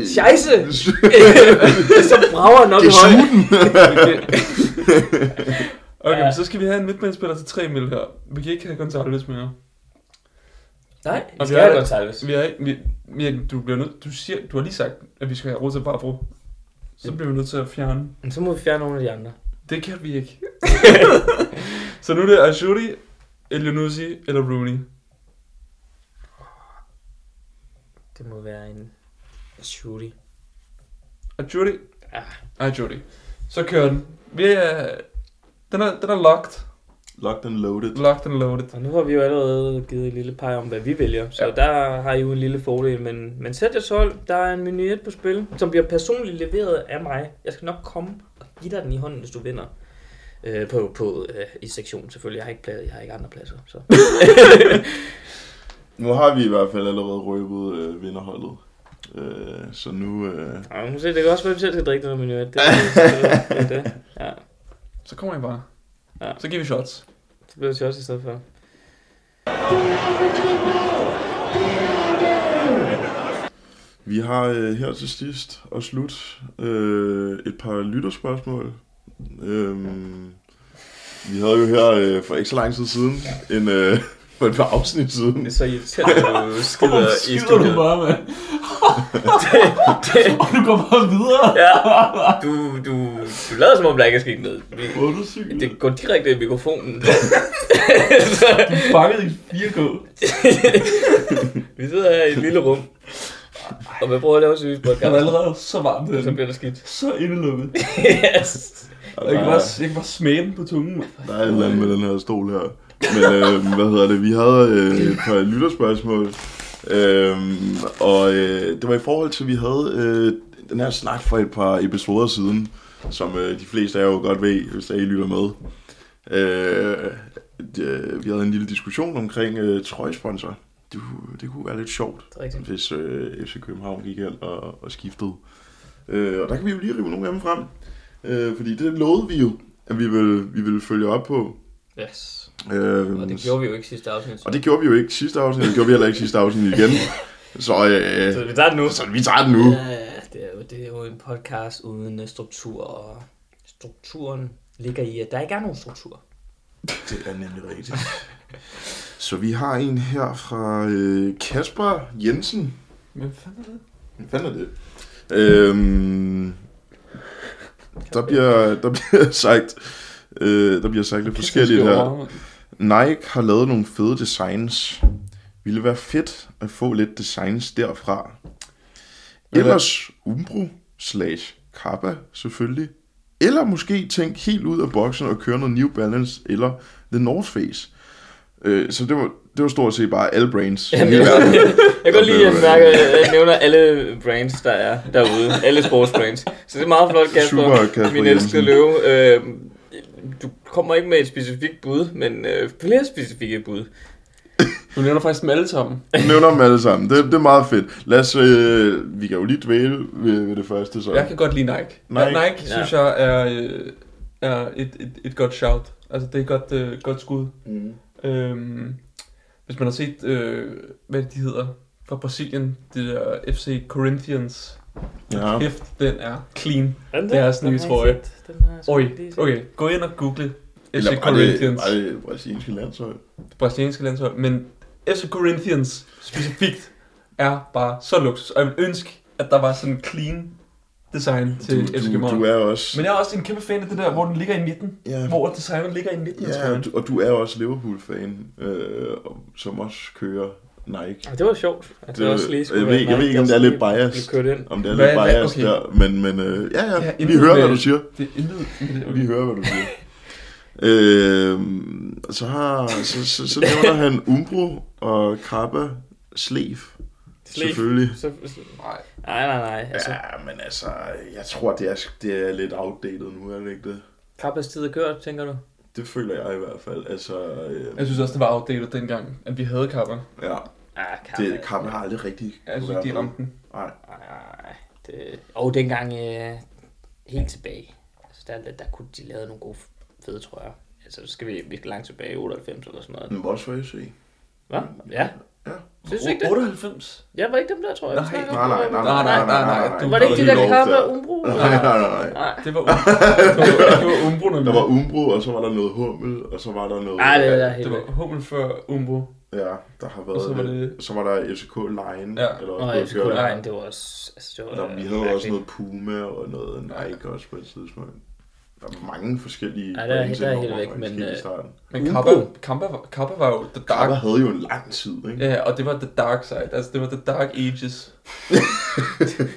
Scheisse! så brager den op i højre. Dessuten. Okay, Ja. men så skal vi have en midtbanespiller til 3 mil her. Vi kan ikke have Gonzalez mere. Nej, Og vi vi skal har- have Gonzalez. Vi er ikke... Vi, vi, du, bliver nødt, du, siger, du har lige sagt, at vi skal have Rosa Barbro. Så bliver vi nødt til at fjerne Men Så må vi fjerne nogle af de andre. Det kan vi ikke. så nu er det Ashuri, Elionuzzi eller Rooney. Det må være en shooty. Ashuri? Ja. Ashuri. Så kører den. Vi er... Den er, den er locked. Locked and loaded. Locked and loaded. Og nu har vi jo allerede givet en lille pege om, hvad vi vælger. Så Ja. ja. der har I jo en lille fordel. Men, men sæt jeres hold. Der er en menuet på spil, som bliver personligt leveret af mig. Jeg skal nok komme og give dig den i hånden, hvis du vinder. Øh, på, på, øh, I sektionen selvfølgelig. Jeg har ikke, plads, jeg har ikke andre pladser. Så. Nu har vi i hvert fald allerede røbet øh, vinderholdet. Øh, så nu... Øh, Nå, men se, det kan også være, at vi selv skal drikke noget menuet. Det, er- det, er- det, er det. Ja, Så kommer I bare. Ja. Så giver vi shots. det blev det også i stedet for. vi har øh, her til sidst og slut øh, et par lytterspørgsmål. Øhm, vi havde jo her øh, for ikke så lang tid siden, en, øh, for et par afsnit siden, er så irriterende, du skider bare, mand? Det- Og du går bare videre. Ja, du, du, du lader som om, der ikke er sket noget. Vi, Hvor er du syg? det går direkte i mikrofonen. Fanget i 4K. vi sidder her i et lille rum, og man prøver at lave en seriøs Jeg podcast, er allerede så varmt og så den. bliver der skidt. Så indelukket. Yes. Jeg kan bare, jeg kan bare smage den på tungen. mand. Der er et eller andet med den her stol her. Men øh, hvad hedder det? Vi havde øh, et par lytterspørgsmål. Øhm, og øh, det var i forhold til, at vi havde øh, den her snak for et par episoder siden, som øh, de fleste af jer jo godt ved, hvis der I lytter med. Øh, det, vi havde en lille diskussion omkring øh, trøjesponsor. Det, kunne- det kunne være lidt sjovt, Det er rigtigt. hvis øh, FC København gik ind og, og skiftede. Øh, og der kan vi jo lige rive nogle af dem frem. Øh, fordi det lovede vi jo, at vi ville, vi ville følge op på. yes. Øh, Og det gjorde vi jo ikke sidste afsnit. og det gjorde vi jo ikke sidste afsnit, og det gjorde vi heller ikke sidste afsnit igen. Så, øh, vi tager det nu. så vi tager den nu. Øh, en podcast uden øh, struktur, og strukturen ligger i, at der ikke er nogen struktur. Det er nemlig rigtigt. Så vi har en her fra øh, Kasper Jensen. Hvad fanden er det? Hvad fanden er det? Øhm, der, bliver, der bliver sagt... Øh, der bliver sagt lidt forskelligt her. Nike har lavet nogle fede designs. Ville det være fedt at få lidt designs derfra. Hvad- Ellers Umbro slash Kappa selvfølgelig. Eller måske tænk helt ud af boksen og køre noget New Balance eller The North Face. Øh, så det var, det var stort set bare alle brains. Jamen, jeg, jeg kan godt lide, at jeg mærker, øh, at jeg nævner alle brands, der er derude. Alle sportsbrands. Så det er meget flot, Kasper. Super, Kasper min Jensen. elskede løve. Øh, du kommer ikke med et specifikt bud, men øh, flere specifikke bud. Du nævner faktisk dem alle sammen. Du nævner dem alle sammen. Det, det er meget fedt. Lad os, øh, vi kan jo lige dvæle ved, ved det første. Så. Jeg kan godt lide Nike. Nike, Nike. Nike synes jeg er, øh, er et, et, et godt shout. Altså, det er et godt, øh, godt skud. Mm. Øhm, hvis man har set, øh, hvad de hedder fra Brasilien, det der FC Corinthians. Ja. Kæft, den er clean. Den Det er sådan en ny trøje. Oj, okay. okay, gå ind og google Eller FC var det, Corinthians, var det brasilianske landshold? det brasilianske landshold, men FC Corinthians specifikt er bare så luksus, og jeg vil ønske, at der var sådan en clean design til FC Du, du, København. du er også... Men jeg er også en kæmpe fan af det der, hvor den ligger i midten, Ja. hvor designet ligger i midten af Ja, trøjen. og du, og du er også Liverpool-fan, øh, og- som også kører Nike. Det var sjovt. At det, Det- også lige skulle jeg ved ikke- jeg være ved ikke, om Nike, det er der lidt sådan lige biased. blev kørt ind. Om det er Hvad- lidt hvad- biased okay. der, men, men øh, ja, ja, Ja, vi intet hører, hvad med- du siger. Det er intet. Okay. Vi hører, hvad du siger. øh, så, har, så, så, så nævner han Umbro og Kappa Slev, Sleeve. selvfølgelig. Så, så, nej. nej, nej, nej. Altså, Ja, men altså, jeg tror, det er, det er lidt outdated nu, er det ikke det? kapacitet er kørt, tænker du? Det føler jeg i hvert fald. Altså, øh, Jeg synes også, det var outdated dengang, at vi havde kapper. ja, Ah, kappa. det, Kappa har aldrig rigtig... Jeg synes, ikke, de ramte den. Nej, Nej, det... Og dengang øh, helt tilbage, altså der, der, der kunne de lave nogle gode fede trøjer. Altså, så skal vi, vi skal langt tilbage i 98 eller sådan noget. men også for se. Hvad? Ja. Ja. Synes du ikke det? 98? Jeg var ikke dem der, tror jeg. Nej, vi snakker om. Nej, nej, nej, nej, nej, nej, nej, nej. Du- Var det ikke de Det er der helt kapper overfærd. Umbro? Nej, nej, nej, nej. Nej, Det var Umbro. Det var, det var Umbro, Der nemlig. var Umbro, og så var der noget Hummel, og så var der noget... nej det er Det helt var vildt. Hummel før Umbro. Ja, der har været... Og så var det- så var der FCK Line, Ja. eller også Nå, noget FCK København. Line, det var også... Altså, det var, Der, vi havde også noget Puma og noget Nike også på et tidspunkt. Der var mange forskellige... Ej, der er- brands der er indover, helt væk, faktisk, men, helt i øh, starten. Men Umbro. Kappa, Kappa, var- Kappa var jo The Dark. Kappa havde jo en lang tid, ikke? Ja, og det var The Dark Side. Altså, det var The Dark Ages.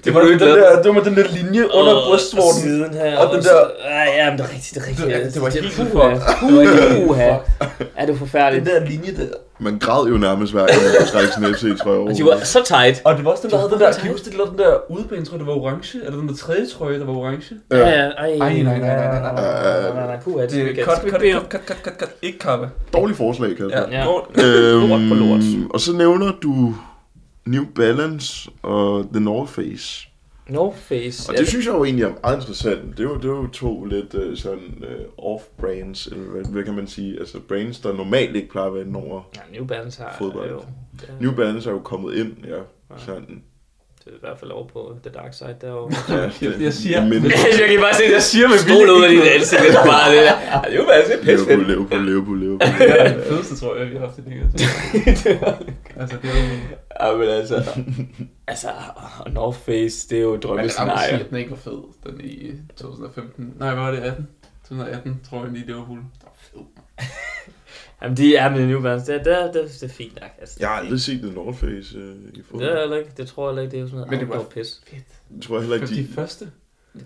Det var du ikke glad for. det var den der linje Og siden her. Og Og, den den der- Ej, ja, men det er rigtigt, det er rigtigt. Det- Altså, det var helt puha. fucked. Puha. Ja, det var forfærdeligt. Den der linje der. Man græd jo nærmest hver gang, man trak sin FC, tror jeg. Og Altså, de var så tight. Og det var også den, der havde den der, kan I fucking huske, det lavede den der udebane, tror jeg, der var orange? Eller den der tredje trøje, der var orange? Ja, ja. Ej, nej, nej, nej, nej, nej, nej, nej, nej, puha, det skal vi Det ikke. er Det skal vi cut, ikke cut, bede om. cut, cut, cut, cut, cut, ikke Kappa. Dårlige forslag, Kasper. Ja, Ja. Hvor- Lort på lort. Øhm, og så nævner du New Balance og The North Face. North Face. Og det synes jeg jo egentlig er meget interessant. Det er jo, det er jo to lidt øh, sådan øh, off-brands, eller hvad, hvad kan man sige? Altså brands, der normalt ikke plejer at være over. Ja, New Balance har Fodbold. jo... Ja, New Balance er jo kommet ind, ja. Sådan. det er i hvert fald over på The Dark Side derovre. Ja, Jeg- jeg siger- Men jeg kan bare se, at jeg siger med stol ud af dit ansigt, det er bare det der. Ej, Det er jo bare så pisse Liverpool, fedt. Liverpool, Liverpool, Det Liverpool. er den fedeste, tror jeg, vi har haft i det her. altså, det er jo... Ja, men altså... Altså, og North Face, det er jo et Man kan aldrig sige, drømmescenarie. at den ikke var fed, den i 2015. Nej, hvad var det, 18? 2018, tror jeg, lige det var hul. Jamen, de er med New Balance, det, det, det, det er fint nok. Altså, Jeg har aldrig set The North Face øh, i fodbold. det er heller ikke, det tror jeg heller ikke, det er jo sådan Men noget det var- outdoor pis. Jeg tror heller ikke, De de... første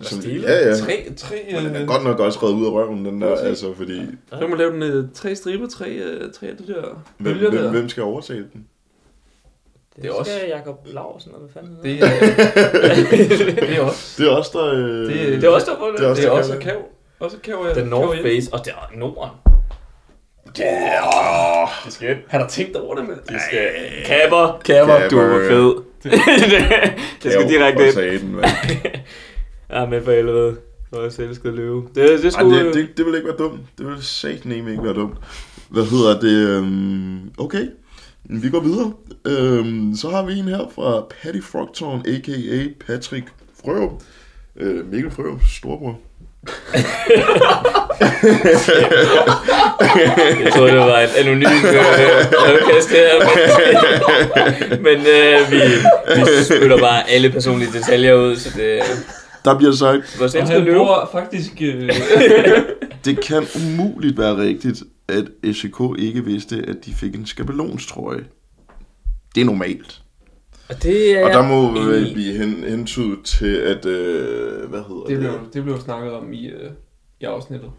som- stilet. Ja, ja. tre... tre Men den er øh, godt nok også reddet ud af røven, den der, Præcis. altså, fordi... så kan man lave den øh, tre striber, tre, øh, tre af de der Hvem, bølger hvem, der. hvem skal overtage den? Det, Det det er er også- skal Jacob Larsen, eller hvad fanden Det det er, det er også. Det er også der... Øh... Det er- det er også der på det. Det er også- Det er også kav. Også kav. The North Face, og det er Norden. Yeah. Det skal ikke. Har du tænkt over det, mand? Det Kapper, kapper, Kapper, du er ja. fed. det skal direkte ind. ind. Den, altså mand. Ja, men for helvede. Hvor jeg selv skal løbe. Det, det Ej, skulle... det, det, det ville ikke være dumt. Det ville satneme ikke være dumt. Hvad hedder det? øhm, Okay, vi går videre. Øhm, Så har vi en her fra Patty Frogtown, a.k.a. Patrick Frøv. Øh, Mikkel Frøums storbror. Jeg troede, det var et anonymt øh, podcast her. Men øh, vi, vi spytter bare alle personlige detaljer ud, så det Der bliver sagt, var Og selv han løbe. bor faktisk... Øh, det kan umuligt være rigtigt, at SK ikke vidste, at de fik en skabelonstrøje. Det er normalt. Og det er Og der må jeg enig vel i. blive hen, hentydet til, at... Øh, hvad hedder det, det? blev, det blev snakket om i, øh, i afsnittet.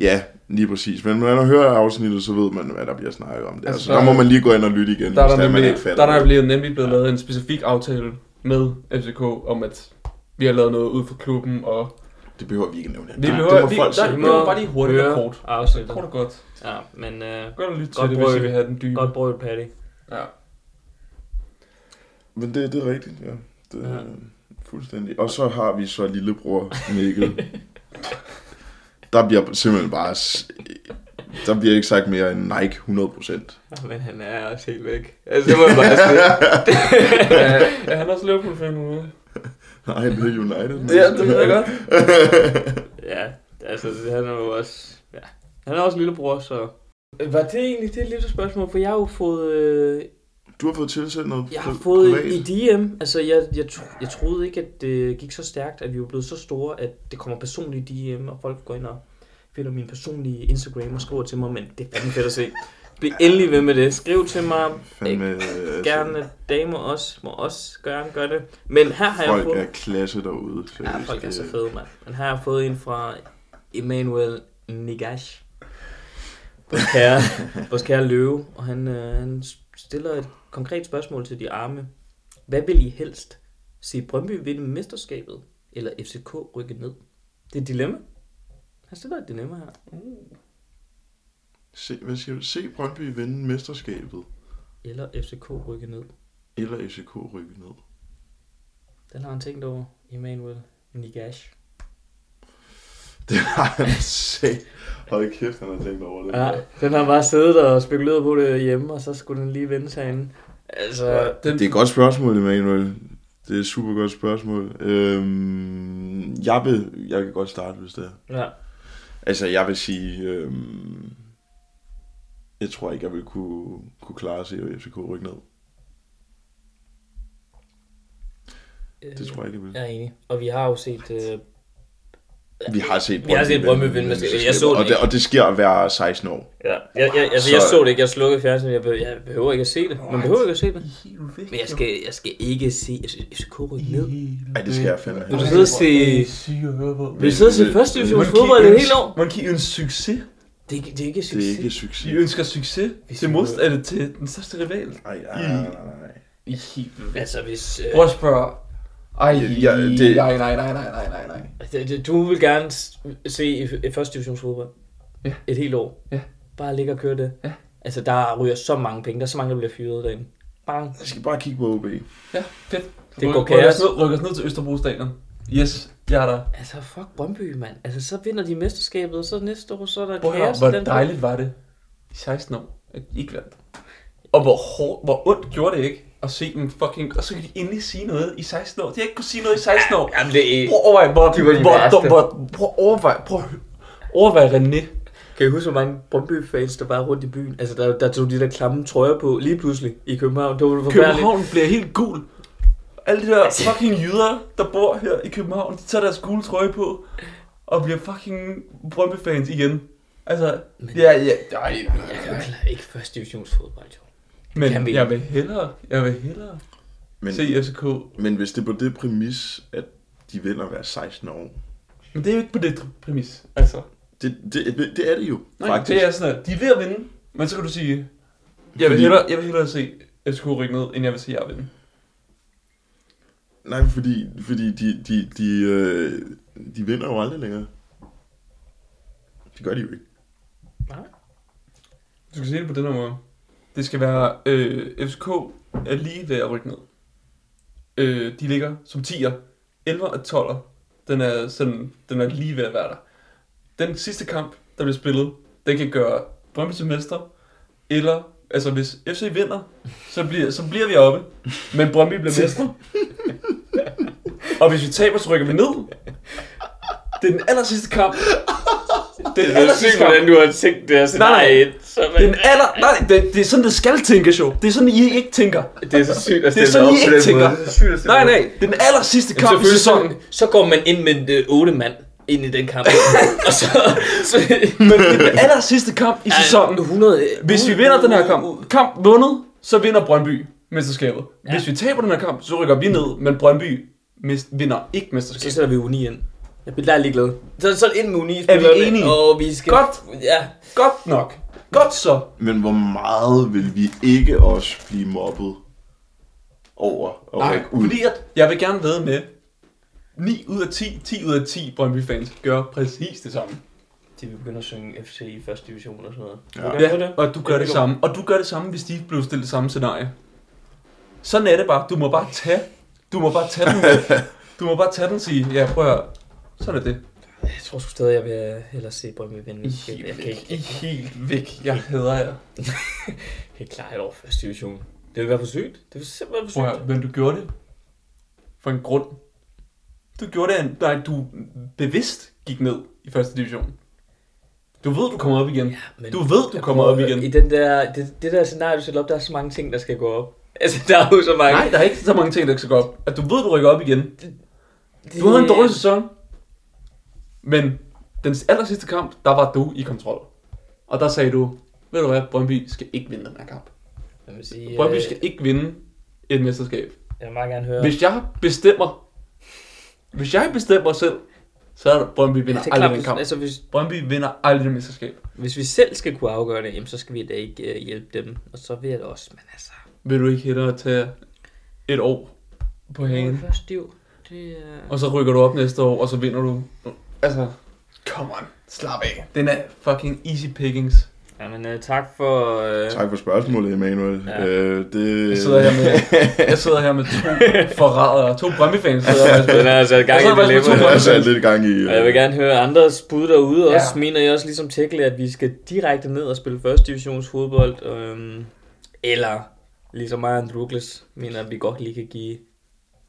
Ja, lige præcis. Men når man hører afsnittet, så ved man, hvad der bliver snakket om. Der. Altså, Altså, så der- der må man lige gå ind og lytte igen, Der er hvis det der, er, man nemlig, ikke der, er fatter der det. blevet, nemlig blevet lavet en specifik aftale med FCK om, at vi har lavet noget ud for klubben, og Det behøver vi ikke nævne. vi Det- behøver, det må vi, folk der, selv vi gøre. må bare lige hurtigt og høre kort. afsnittet. Kort og godt. Ja, men øh, Godt at lytte til Godt det, hvis I prøvet. vil have den dybe. godt brugt, Patty. Ja. Men det, det er rigtigt, ja. Det er Ja. fuldstændig. Og så har vi så lillebror Mikkel. der bliver simpelthen bare... s- Der bliver ikke sagt mere end Nike 100%. Ja, Men han er også helt væk. Altså, det må jeg bare sige. Er han også Liverpool-fan nu? Nej, det er United. Ja, det ved jeg godt. Ja, altså, det- han er jo også... Ja. Han er også lillebror, så... Var det egentlig det lille spørgsmål? For jeg har jo fået... Øh, Du har fået tilsendt noget jeg har pri- fået privat. i DM. Altså, jeg, jeg, tro- jeg troede ikke, at det gik så stærkt, at vi var blevet så store, at det kommer personligt i DM, og folk går ind og finder min personlige Instagram og skriver til mig, men det er fandme fedt at se. Bliv endelig ved med det. Skriv til mig. Fandme, altså, Gerne damer også må også gerne gøre det. Men her har jeg Folk fået... er klasse derude. Ja, seriøst. folk er så Det- fede, mand. Men her har jeg fået en fra Emmanuel Nigash. Vores kære, vores kære løve, og han, øh, han stiller et konkret spørgsmål til de arme. Hvad vil I helst? Se Brøndby vinde mesterskabet, eller FCK rykke ned? Det er et dilemma. Han stiller et dilemma her. Se, hvad siger du? Se Brøndby vinde mesterskabet, Eller FCK rykke ned. eller FCK rykke ned. Den har han tænkt over, Emmanuel Nigash. Det har han set. Hold kæft, han har tænkt over det. Ja, den har bare siddet og spekuleret på det hjemme, og så skulle den lige vende sig ind. Altså, Den, Det er et godt spørgsmål, Emanuel. Det er et super godt spørgsmål. Øhm, jeg, vil, jeg kan godt starte, hvis det er. ja. Altså, jeg vil sige... Øhm, jeg tror ikke, jeg vil kunne, kunne klare at se at FCK rykke ned. Øh, Det tror jeg ikke, jeg vil. Jeg er enig. Og vi har jo set... Øh, Vi har set Vi har set Brøndby vinde mesterskabet. Jeg så det og det, ikke. og det sker hver 16 år. ja. jeg, jeg, altså, Så- jeg så det ikke. Jeg slukkede fjernsynet. Jeg, be, jeg behøver ikke at se det. Man behøver ikke at se det. Helt væk, Men jeg skal, jeg skal ikke se FCK rykke ned. Ej, det skal jeg fandme Mm. Altså, Du have. skal sidde og se... Syg at høre på. Vi sidder og se første division fodbold et helt år. Monkey en succes. Det, er ikke- det er ikke Det er succes. ikke De succes. ønsker succes til skal- modst, eller til den største rival. Ej, nej, nej, nej, nej. I helt væk. Altså, hvis... Øh, Prøv at spørge. Ej, Ja, det- nej, nej, nej, nej, nej, nej, nej. altså, det- det- du vil gerne s- se i- i første divisions fodbold. Ja. Et helt år. Ja. Bare ligge og køre det. Ja. Altså, der ryger så mange penge. Der er så mange, der bliver fyret derinde. Bang. Jeg skal bare kigge på OB. Ja, fedt. Det Ryk- går rykker os kaos. ned- Rykker os ned til Østerbro Stadion. Yes, jeg er der. Altså, fuck Brøndby, mand. Altså, så vinder de mesterskabet, og så næste år, så er der Prøv at høre, kaos. i hvor den- dejligt var det i 16 år, at de ikke vandt. Og hvor, hårdt, hvor ondt gjorde det ikke at se dem fucking... Og så kan de endelig sige noget i 16 år. De har ikke kunnet sige noget i 16 år. Jamen, det er... Prøv at overveje, hvor... de var de hvor, værste. hvor, prøv at overveje, prøv at hø- overveje René. Kan I huske, hvor mange Brøndby-fans, der var rundt i byen? Altså, der, der tog de der klamme trøjer på lige pludselig i København. Det var jo forfærdeligt. København bliver helt gul. Alle de der fucking jyder, der bor her i København, de tager deres gule trøje på og bliver fucking Brøndby-fans igen. Altså, ja, ja, nej, nej, nej, Jeg nej. kan klare ikke første divisionsfodbold, jo. Kan Men vi? jeg vil hellere, jeg vil hellere Men, se FCK. men hvis det er på det præmis, at de vinder hver 16 år, Men det er jo ikke på det præmis, altså. Det, det, det, det er det jo, Nej, faktisk. det er sådan, at de er ved at vinde, men så kan du sige, jeg vil, Fordi- hellere, jeg vil hellere se FCK rykke ned, end jeg vil se jer vinde. Nej, fordi, fordi de, de, de, øh, de vinder jo aldrig længere. Det gør de jo ikke. Du skal se det på den her måde. Det skal være, øh, FCK er lige ved at rykke ned. Øh, de ligger som 10'er. 11 og 12'er. Den er, sådan, den er lige ved at være der. Den sidste kamp, der bliver spillet, den kan gøre Brøndby til mester. Eller, altså hvis FC vinder, så bliver, så bliver vi oppe. Men Brøndby bliver mestre. og hvis vi taber, så rykker vi ned. Det er den aller sidste kamp. Det Det er sygt, hvordan du har tænkt det her scenarie. nej. Så man, Det er den aller... Nej, det, det er sådan, det skal tænkes jo. Det er sådan, I ikke tænker. det er så sygt at Det er stille sådan, op I på ikke den tænker. måde. Det er sygt at stille Nej, op. nej. Det er den aller sidste kamp i selvfølgelig sæsonen. Så går man ind med øh, otte mand ind i den kamp. og så, så Men det er den aller sidste kamp i sæsonen. 100, Hvis vi vinder den her kamp, kamp vundet, så vinder Brøndby mesterskabet. Hvis vi taber den her kamp, så rykker vi ned, men Brøndby mist, vinder ikke Så mesterskabet. sætter vi uni ind. Jeg bliver lige glad. Så, så ind med uni. Er vi enige? Og vi skal... Godt. Ja. Godt nok. Godt så. Men hvor meget vil vi ikke også blive mobbet over og Nej, rykke ud? fordi at jeg vil gerne ved med, 9 ud af 10, 10 ud af 10 Brøndby-fans gør præcis det samme. De vil begynde at synge FC i første division og sådan noget. Ja. Ja. det? og du gør Ja, det det samme. Og du gør det samme, hvis de blev stillet samme scenarie. Sådan er det bare. Du må bare tage, du må bare tage den. Du må bare tage den og sige, ja prøv at høre. Sådan er det. Jeg tror sgu stadig, jeg vil hellere se Brøndby vinde. Jeg kan, jeg kan ikke, I er helt væk. Jeg hader jer. jeg kan ikke klare et år første division. Det ville være for sygt. Det ville simpelthen være for Prøv at høre, sygt. men du gjorde det for en grund. Du gjorde det, af en- nej, du bevidst gik ned i første division. Du ved, du kommer op igen. Men Du ved, du jeg kommer prøver- op igen. I den der, det, det der scenarie, du sætter op, der er så mange ting, der skal gå op. Altså, der er jo så mange. Nej, der er ikke så mange ting, der skal gå op. At du ved, du rykker op igen. det, Du havde en dårlig sæson, men den aller sidste kamp, der var du i kontrol. Og der sagde du, ved du hvad, Brøndby skal ikke vinde den her kamp. Jeg vil sige, Brøndby øh, skal ikke vinde et mesterskab. jeg vil meget gerne høre. Hvis jeg bestemmer, hvis jeg bestemmer selv, så er der Brøndby vinder det er klart, aldrig den hvis, kamp. altså, hvis, Brøndby vinder aldrig det mesterskab. hvis vi selv skal kunne afgøre det, jamen, så skal vi da ikke øh, hjælpe dem. Og så vil jeg da også, men altså... Vil du ikke hellere tage et år på hagen, Først div. Det øh. er... og så rykker du op næste år, og så vinder du? Altså, come on, slap af. Den er fucking easy pickings. Jamen, øh, tak for... Øh, Tak for spørgsmålet, Emanuel. Ja. Ja. Øh, det... Jeg sidder her med, jeg sidder her med to forrædere, to Brøndby-fans. sidder jeg faktisk Den med. er altså i gang Jeg sidder i faktisk med Der dilemmaet. er sat lidt gang i... øh, Og jeg vil gerne høre andres bud derude Ja. ja. også. Mener I også ligesom Tekle, at vi skal direkte ned og spille første divisions fodbold? Øhm, eller ligesom mig og Andrukles mener, at vi godt lige kan give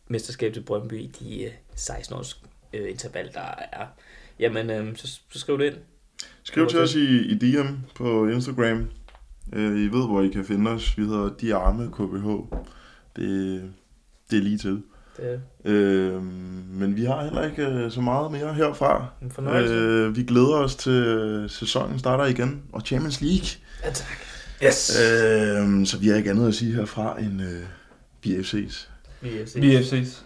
mesterskab til Brøndby i de øh, 16 års øh, interval, der er. Jamen, øhm, så, så skriv det ind. Skriv til os i, i DM på Instagram. Øh, I ved, hvor I kan finde os. Vi hedder De Arme KBH. Det, det er lige til. Det Øh, men vi har heller ikke øh, så meget mere herfra. er en fornøjelse. Øh, Øh, vi glæder os til øh, sæsonen starter igen, og Champions League. ja, tak. Yes. Øh, så vi har ikke andet at sige herfra end øh, vi FC's. Vi ses. Vi er FC's.